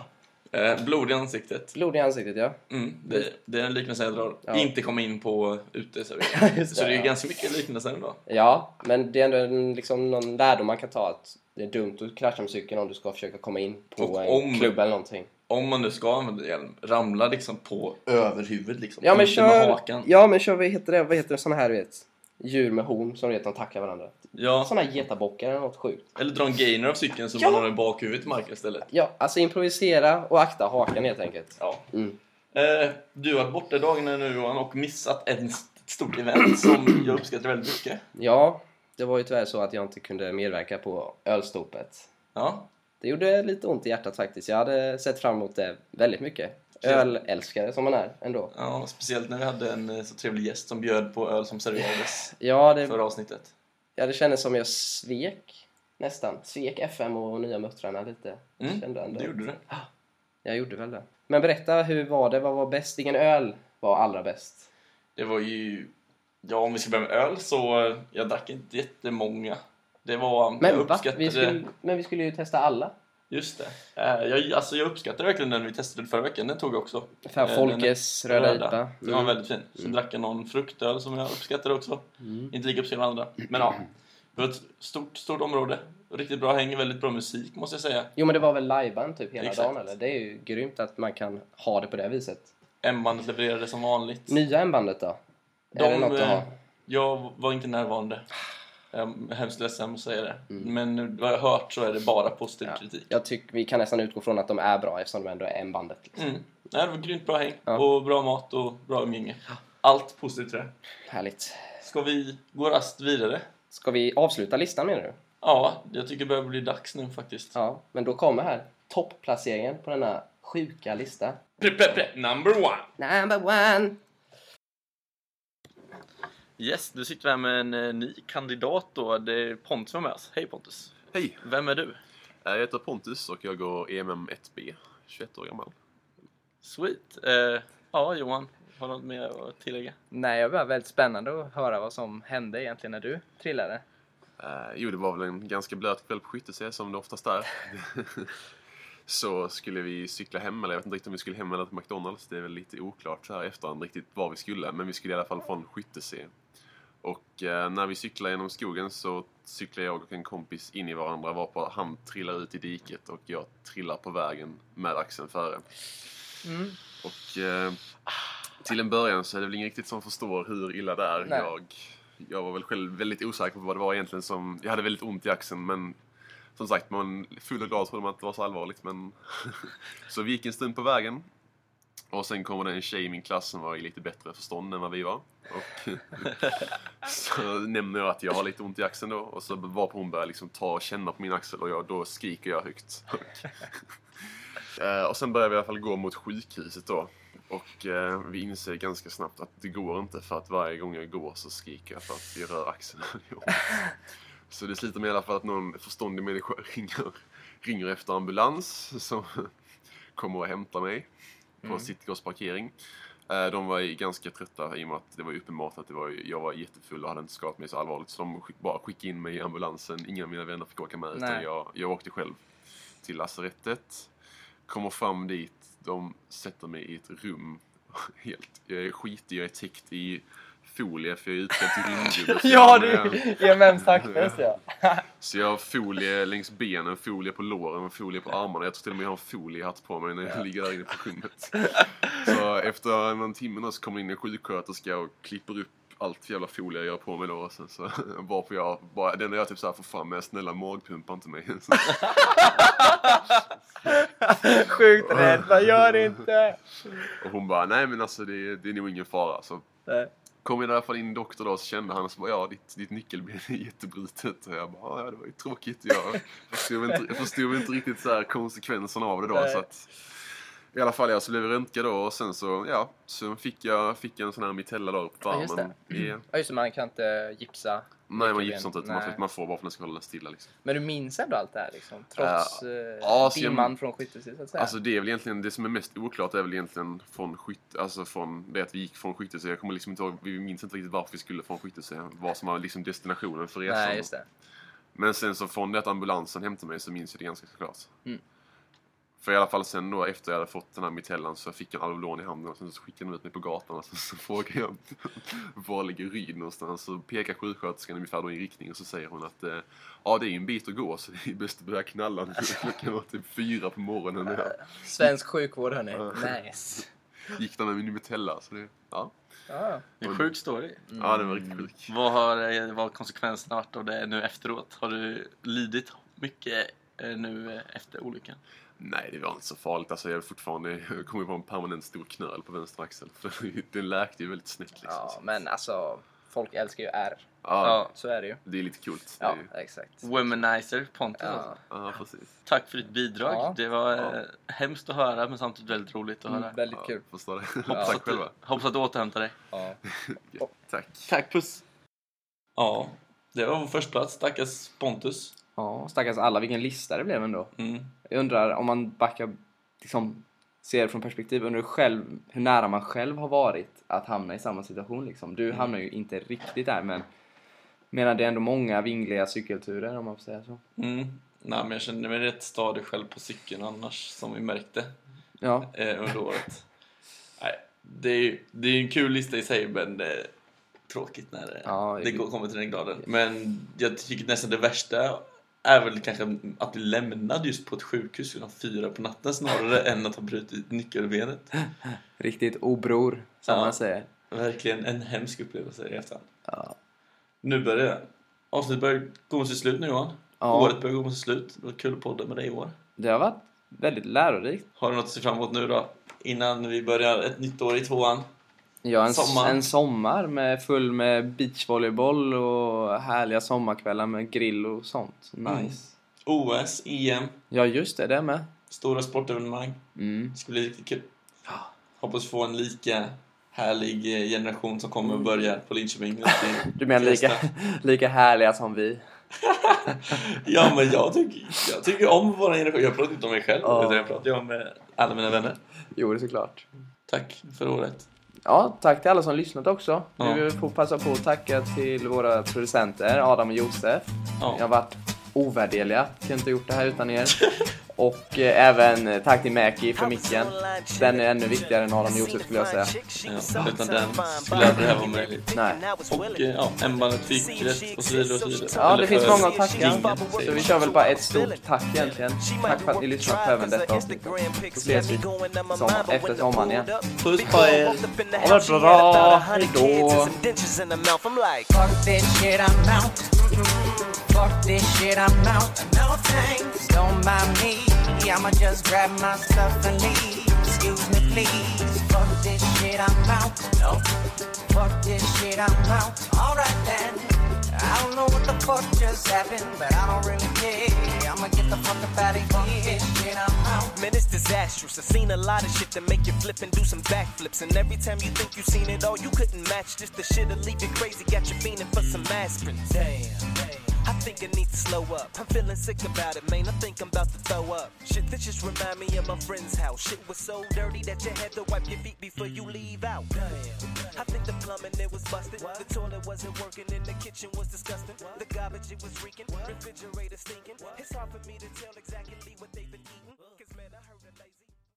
[SPEAKER 2] Eh, blod i ansiktet.
[SPEAKER 3] blod i ansiktet ja.
[SPEAKER 2] Mm, det, det är en liknelse jag drar.
[SPEAKER 3] Ja.
[SPEAKER 2] Inte komma in på uteservering.
[SPEAKER 3] Just det,
[SPEAKER 2] Så det är ju
[SPEAKER 3] ja.
[SPEAKER 2] ganska mycket liknelser ändå.
[SPEAKER 3] Ja, men det är ändå en, liksom någon lärdom man kan ta att det är dumt att krascha med cykeln om du ska försöka komma in på
[SPEAKER 2] Och
[SPEAKER 3] en
[SPEAKER 2] om-
[SPEAKER 3] klubb eller någonting.
[SPEAKER 2] Om man nu ska använda hjälm, ramla liksom på överhuvudet liksom.
[SPEAKER 3] Ja men
[SPEAKER 2] inte med
[SPEAKER 3] kör,
[SPEAKER 2] hakan.
[SPEAKER 3] ja men kör, vad heter det, vad heter det, såna här du vet? Djur med horn som du vet, de tackar varandra.
[SPEAKER 2] Ja,
[SPEAKER 3] Såna getabockar eller något sjukt.
[SPEAKER 2] eller dra en gainer av cykeln så
[SPEAKER 3] Ja.
[SPEAKER 2] man har den i bakhuvudet i marken istället.
[SPEAKER 3] Ja, alltså improvisera och akta hakan helt enkelt.
[SPEAKER 2] Ja.
[SPEAKER 3] Mm.
[SPEAKER 2] Eh, du har varit borta dagarna nu Johan och missat en- ett stort event som jag uppskattar väldigt mycket.
[SPEAKER 3] Ja, det var ju tyvärr så att jag inte kunde medverka på ölstopet.
[SPEAKER 2] Ja,
[SPEAKER 3] Det gjorde lite ont i hjärtat faktiskt. Jag hade sett fram emot det väldigt mycket. Ölälskare som man är ändå.
[SPEAKER 2] ja, speciellt när vi hade en eh, så trevlig gäst som bjöd på öl som serverades
[SPEAKER 3] Ja, det,
[SPEAKER 2] förra avsnittet.
[SPEAKER 3] ja, det kändes som jag svek nästan. Svek FM och Nya Muttrarna lite. Jag
[SPEAKER 2] Mm,
[SPEAKER 3] kände ändå.
[SPEAKER 2] det gjorde du.
[SPEAKER 3] Jag gjorde väl det. Men berätta, hur var det? Vad var bäst? Ingen öl var allra bäst.
[SPEAKER 2] Det var ju... Ja, om vi ska börja med öl så eh, jag drack inte jättemånga. Det var...
[SPEAKER 3] Men
[SPEAKER 2] jag
[SPEAKER 3] va?
[SPEAKER 2] uppskattade...
[SPEAKER 3] Vi skulle, men vi skulle ju testa alla.
[SPEAKER 2] Just det. Eh, Jag, alltså jag uppskattar verkligen den vi testade förra veckan. Den tog jag också.
[SPEAKER 6] Fan,
[SPEAKER 2] Eh,
[SPEAKER 6] Folkes
[SPEAKER 2] den är-
[SPEAKER 6] röda IPA.
[SPEAKER 2] Den var väldigt fin.
[SPEAKER 6] Mm.
[SPEAKER 2] Sen drack jag någon fruktöl som jag uppskattade också. Inte lika uppskattad andra. Men ja, det var ett stort, stort område. Riktigt bra häng, väldigt bra musik måste jag säga.
[SPEAKER 6] Jo men det var väl lajban typ hela
[SPEAKER 2] Exakt.
[SPEAKER 6] dagen eller? Det är ju grymt att man kan ha det på det viset.
[SPEAKER 2] M-bandet levererade som vanligt.
[SPEAKER 6] Nya M-bandet då?
[SPEAKER 2] De,
[SPEAKER 6] är det något att
[SPEAKER 2] eh,
[SPEAKER 6] ha?
[SPEAKER 2] Jag var inte närvarande. Jag är hemskt ledsen att säga det. Men vad jag har hört så är det bara positiv
[SPEAKER 6] Mm. Ja.
[SPEAKER 2] kritik.
[SPEAKER 6] Jag tycker vi kan nästan utgå från att de är bra eftersom de ändå är M-bandet. Liksom.
[SPEAKER 2] Mm. Nej, det var grymt bra häng
[SPEAKER 6] Ja.
[SPEAKER 2] och bra mat och bra umgänge. Allt positivt tror jag.
[SPEAKER 6] Härligt.
[SPEAKER 2] Ska vi gå rast vidare?
[SPEAKER 6] Ska vi avsluta listan menar du?
[SPEAKER 2] Ja, jag tycker det börjar bli dags nu faktiskt.
[SPEAKER 6] Ja. Men då kommer här toppplaceringen på denna sjuka lista.
[SPEAKER 2] Pre, pre, pre, number one!
[SPEAKER 6] Number one!
[SPEAKER 5] Yes, du sitter här med en eh, ny kandidat då. Det är Pontus som är med oss. Hej Pontus!
[SPEAKER 8] Hej!
[SPEAKER 5] Vem är du?
[SPEAKER 8] Jag heter Pontus och jag går E EMM 1B, 21 år gammal.
[SPEAKER 5] Sweet! Eh, ja, Johan. Har du något mer att tillägga?
[SPEAKER 3] Nej, jag var väldigt spännande att höra vad som hände egentligen när du trillade.
[SPEAKER 8] Eh, jo, det var väl en ganska blöt kväll på skyttese som det oftast är. så skulle vi cykla hem, eller jag vet inte riktigt om vi skulle hem eller till McDonalds. Det är väl lite oklart så här i efterhand riktigt var vi skulle, men vi skulle i alla fall från skyttese. Och eh, när vi cyklar genom skogen så cyklar jag och en kompis in i varandra varpå han trillar ut i diket och jag trillar på vägen med axeln före. Och eh, till en början så är det väl ingen riktigt som förstår hur illa det är.
[SPEAKER 3] Nej.
[SPEAKER 8] Jag, jag var väl själv väldigt osäker på vad det var egentligen som... Jag hade väldigt ont i axeln men som sagt, man full och glad trodde man att det var så allvarligt men... så vi gick en stund på vägen. Och sen kommer det en tjej i min klass som var i lite bättre förstånd än vad vi var. Och så nämner jag att jag har lite ont i axeln då och så var på hon börjar liksom ta och känna på min axel och jag, då skriker jag högt. Eh, och sen börjar vi i alla fall gå mot sjukhuset då. Och eh, vi inser ganska snabbt att det går inte för att varje gång jag går så skriker jag för att jag rör axeln. så det slutar med i alla fall att någon förståndig människa ringer, ringer efter ambulans som kommer och hämtar mig på
[SPEAKER 3] Mm.
[SPEAKER 8] Citygross parkering. Eh, De var ju ganska trötta i och med att det var ju uppenbart att det var, ju- jag var jättefull och hade inte skadat mig så allvarligt. Så de skick, bara skickade in mig i ambulansen. Ingen av mina vänner fick åka med utan
[SPEAKER 3] Nej.
[SPEAKER 8] jag, jag åkte själv till lasarettet. Kommer fram dit, de sätter mig i ett rum. Helt, jag är skitig, jag är täckt i folie för jag är utklädd till rymdgubbe. så
[SPEAKER 3] Ja,
[SPEAKER 8] jag-
[SPEAKER 3] du är med tackfest ja.
[SPEAKER 8] så jag har folie längs benen, folie på låren och folie på armarna. Jag tror till och med jag har en foliehatt på mig när jag ligger där inne på rummet. Så efter någon timme då så kommer in en sjuksköterska och klipper upp allt jävla folie jag gör på mig då. Och sen så varpå jag, bara, det enda jag typ så här får fram är snälla magpumpa inte mig. Så,
[SPEAKER 3] Sjukt rädd, vad gör det inte?
[SPEAKER 8] och hon bara, nej men alltså det, det är nog ingen fara. Så
[SPEAKER 3] Nej.
[SPEAKER 8] kom jag i alla fall in en doktor då så kände han så bara, ja ditt, ditt nyckelben är jättebrutet. Och jag bara, ja det var ju tråkigt. Jag förstod inte, jag förstod inte riktigt så här konsekvenserna av det då.
[SPEAKER 3] Nej.
[SPEAKER 8] Så att, I alla fall jag så blev jag röntgad då och sen så, ja, så fick jag, fick jag en sån här mitella då på
[SPEAKER 3] Ja, just
[SPEAKER 8] armen. I-
[SPEAKER 3] Ja, just det, man kan inte gipsa.
[SPEAKER 8] Nej man
[SPEAKER 3] Nyckelben.
[SPEAKER 8] gipsar inte, utan man,
[SPEAKER 3] Nej.
[SPEAKER 8] får- man får bara för att den ska hålla stilla liksom.
[SPEAKER 3] Men du minns ändå allt det här liksom? Trots uh,
[SPEAKER 8] ja, så jag-
[SPEAKER 3] dimman från skyttelsen så att säga?
[SPEAKER 8] Alltså det är väl egentligen, det som är mest oklart är väl egentligen från skytt, alltså från det att vi gick från skyttelse. Jag kommer liksom inte ihåg, vi minns inte riktigt varför vi skulle från skyttelse. Vad som var liksom destinationen för resan.
[SPEAKER 3] Nej, just det.
[SPEAKER 8] Men sen så från det att ambulansen hämtade mig så minns jag det ganska klart.
[SPEAKER 3] Mm.
[SPEAKER 8] För i alla fall sen då efter jag hade fått den här mitellan så fick jag en Alvedon i handen och sen så skickade de ut mig på gatan och sen så frågade jag var ligger Ryd någonstans så pekar sjuksköterskan ungefär då i en riktning och så säger hon att eh, ja det är en bit att gå så det är bäst att börja knalla nu. Klockan var typ fyra på morgonen när jag
[SPEAKER 3] Svensk sjukvård hörni.
[SPEAKER 8] Ja.
[SPEAKER 3] Nice.
[SPEAKER 8] gick där med min mitella. Så det, ja.
[SPEAKER 3] Ja.
[SPEAKER 5] Det är en sjuk story.
[SPEAKER 8] ja det var riktigt sjukt.
[SPEAKER 5] Vad har eh, vad har konsekvenserna varit av det nu efteråt? Har du lidit mycket eh, nu eh, efter olyckan?
[SPEAKER 8] Nej, det var inte så farligt. Alltså, jag är fortfarande jag kommer på en permanent stor knöl på vänster axel. För den läkte ju väldigt snett liksom.
[SPEAKER 3] ja,
[SPEAKER 8] Så-
[SPEAKER 3] men alltså folk älskar ju R.
[SPEAKER 8] ja,
[SPEAKER 5] Ja.
[SPEAKER 3] Så är det ju.
[SPEAKER 8] det är lite kul.
[SPEAKER 3] Ja,
[SPEAKER 8] Ja.
[SPEAKER 3] exakt.
[SPEAKER 5] Womanizer Pontus.
[SPEAKER 3] Ja.
[SPEAKER 8] ja, precis.
[SPEAKER 5] Tack för ditt bidrag.
[SPEAKER 3] Ja.
[SPEAKER 5] Det var eh, hemskt att höra men samtidigt väldigt roligt att höra.
[SPEAKER 3] Mm, väldigt
[SPEAKER 8] Ja,
[SPEAKER 3] kul.
[SPEAKER 8] Förstår det.
[SPEAKER 5] Hoppas,
[SPEAKER 8] Tack
[SPEAKER 5] att du,
[SPEAKER 8] själva.
[SPEAKER 5] hoppas att du återhämtar dig.
[SPEAKER 3] Ja.
[SPEAKER 8] Tack.
[SPEAKER 5] Tack, puss! Ja, det var vår första plats. Stackars Pontus.
[SPEAKER 6] Ja, stackars alla, vilken lista det blev ändå.
[SPEAKER 5] Mm.
[SPEAKER 6] Jag undrar om man backar, liksom, ser det från perspektiv, undrar själv hur nära man själv har varit att hamna i samma situation liksom.
[SPEAKER 8] Mm.
[SPEAKER 6] Du hamnar ju inte riktigt där men menar det är ändå många vingliga cykelturer om man får säga så.
[SPEAKER 5] Mm.
[SPEAKER 2] Nej, men jag kände mig rätt stadig själv på cykeln annars, som vi märkte
[SPEAKER 3] Ja.
[SPEAKER 2] eh, under året. Nej, det är ju det är ju en kul lista i sig, men det är tråkigt när det,
[SPEAKER 3] Ja,
[SPEAKER 2] det går, kommer till den graden. Men jag tycker nästan det värsta är väl kanske att bli lämnad just på ett sjukhus klockan fyra på natten snarare än att ha brutit nyckelbenet.
[SPEAKER 3] Riktigt obror, som
[SPEAKER 2] Ja.
[SPEAKER 3] man säger.
[SPEAKER 2] Verkligen en hemsk upplevelse i efterhand.
[SPEAKER 3] Ja.
[SPEAKER 2] Nu börjar det. Avsnittet börjar gå mot sitt slut nu Johan.
[SPEAKER 3] Ja.
[SPEAKER 2] Året börjar gå mot sitt slut. Det var kul att podda med dig i år.
[SPEAKER 3] Det har varit väldigt lärorikt.
[SPEAKER 2] Har du något att se fram emot nu då? Innan vi börjar ett nytt år i tvåan.
[SPEAKER 3] Ja, en,
[SPEAKER 2] Sommar.
[SPEAKER 3] sommar. en sommar med full med beachvolleyboll och härliga sommarkvällar med grill och sånt.
[SPEAKER 2] Nice. OS, EM,
[SPEAKER 3] Ja, just det. Det är med.
[SPEAKER 2] stora sportevenemang.
[SPEAKER 3] Mm.
[SPEAKER 2] Det ska bli riktigt kul. Hoppas få en lika härlig eh, generation som kommer och börjar på Linköping. nu till-
[SPEAKER 3] Mm. Du menar
[SPEAKER 2] till
[SPEAKER 3] lika,
[SPEAKER 2] hösten.
[SPEAKER 3] lika härliga som vi?
[SPEAKER 2] Ja, men jag tycker, jag tycker om vår generation. Jag pratar inte om mig själv,
[SPEAKER 3] Ja.
[SPEAKER 2] utan jag pratar ju om eh, alla mina vänner.
[SPEAKER 3] Jo, det är såklart.
[SPEAKER 2] Tack för året.
[SPEAKER 3] Ja, tack till alla som lyssnat också.
[SPEAKER 2] Ja.
[SPEAKER 3] Vi får passa på att tacka till våra producenter Adam och Josef.
[SPEAKER 2] Ja.
[SPEAKER 3] Ni har varit ovärderliga. Kunde inte gjort det här utan er. och eh, även eh, tack till Mäki för micken. Den är ännu viktigare än Adam och Josef skulle jag säga.
[SPEAKER 2] Ja, utan den skulle aldrig det här vara möjligt.
[SPEAKER 3] Nej.
[SPEAKER 2] Och eh, ja, M-bandet fick rätt och så vidare och så vidare.
[SPEAKER 3] Ja,
[SPEAKER 2] Eller
[SPEAKER 3] det finns
[SPEAKER 2] för
[SPEAKER 3] många att tacka.
[SPEAKER 2] ingen, säger
[SPEAKER 3] Så
[SPEAKER 2] vi.
[SPEAKER 3] vi kör väl bara ett stort tack egentligen. Tack för att ni lyssnat på även detta avsnitt. Så ses vi sommar, efter sommaren igen.
[SPEAKER 2] Puss på er!
[SPEAKER 3] Ha det bra, hejdå!
[SPEAKER 9] Fuck this shit, I'm out. Fuck this shit, I'm out. No thanks, don't mind me. I'ma just grab my stuff and leave. Excuse me, please. Fuck this shit, I'm out. No. Fuck this shit, I'm out. Alright then. I don't know what the fuck just happened, but I don't really care. I'ma get the fuck up out of here. Fuck this shit, I'm out.
[SPEAKER 10] Man, it's disastrous. I've seen a lot of shit that make you flip and do some backflips. And every time you think you seen it all, you couldn't match. Just the shit'll leave you crazy. Got you fiending for some aspirin. Damn. I think I need to slow up. I'm feeling sick about it, man. I think I'm about to throw up. Shit, this just remind me of my friend's house. Shit was so dirty that you had to wipe your feet before you leave out. I think the plumbing it was busted. The toilet wasn't working and the kitchen was disgusting. The garbage it was reeking. Refrigerator stinking. It's hard for me to tell exactly what they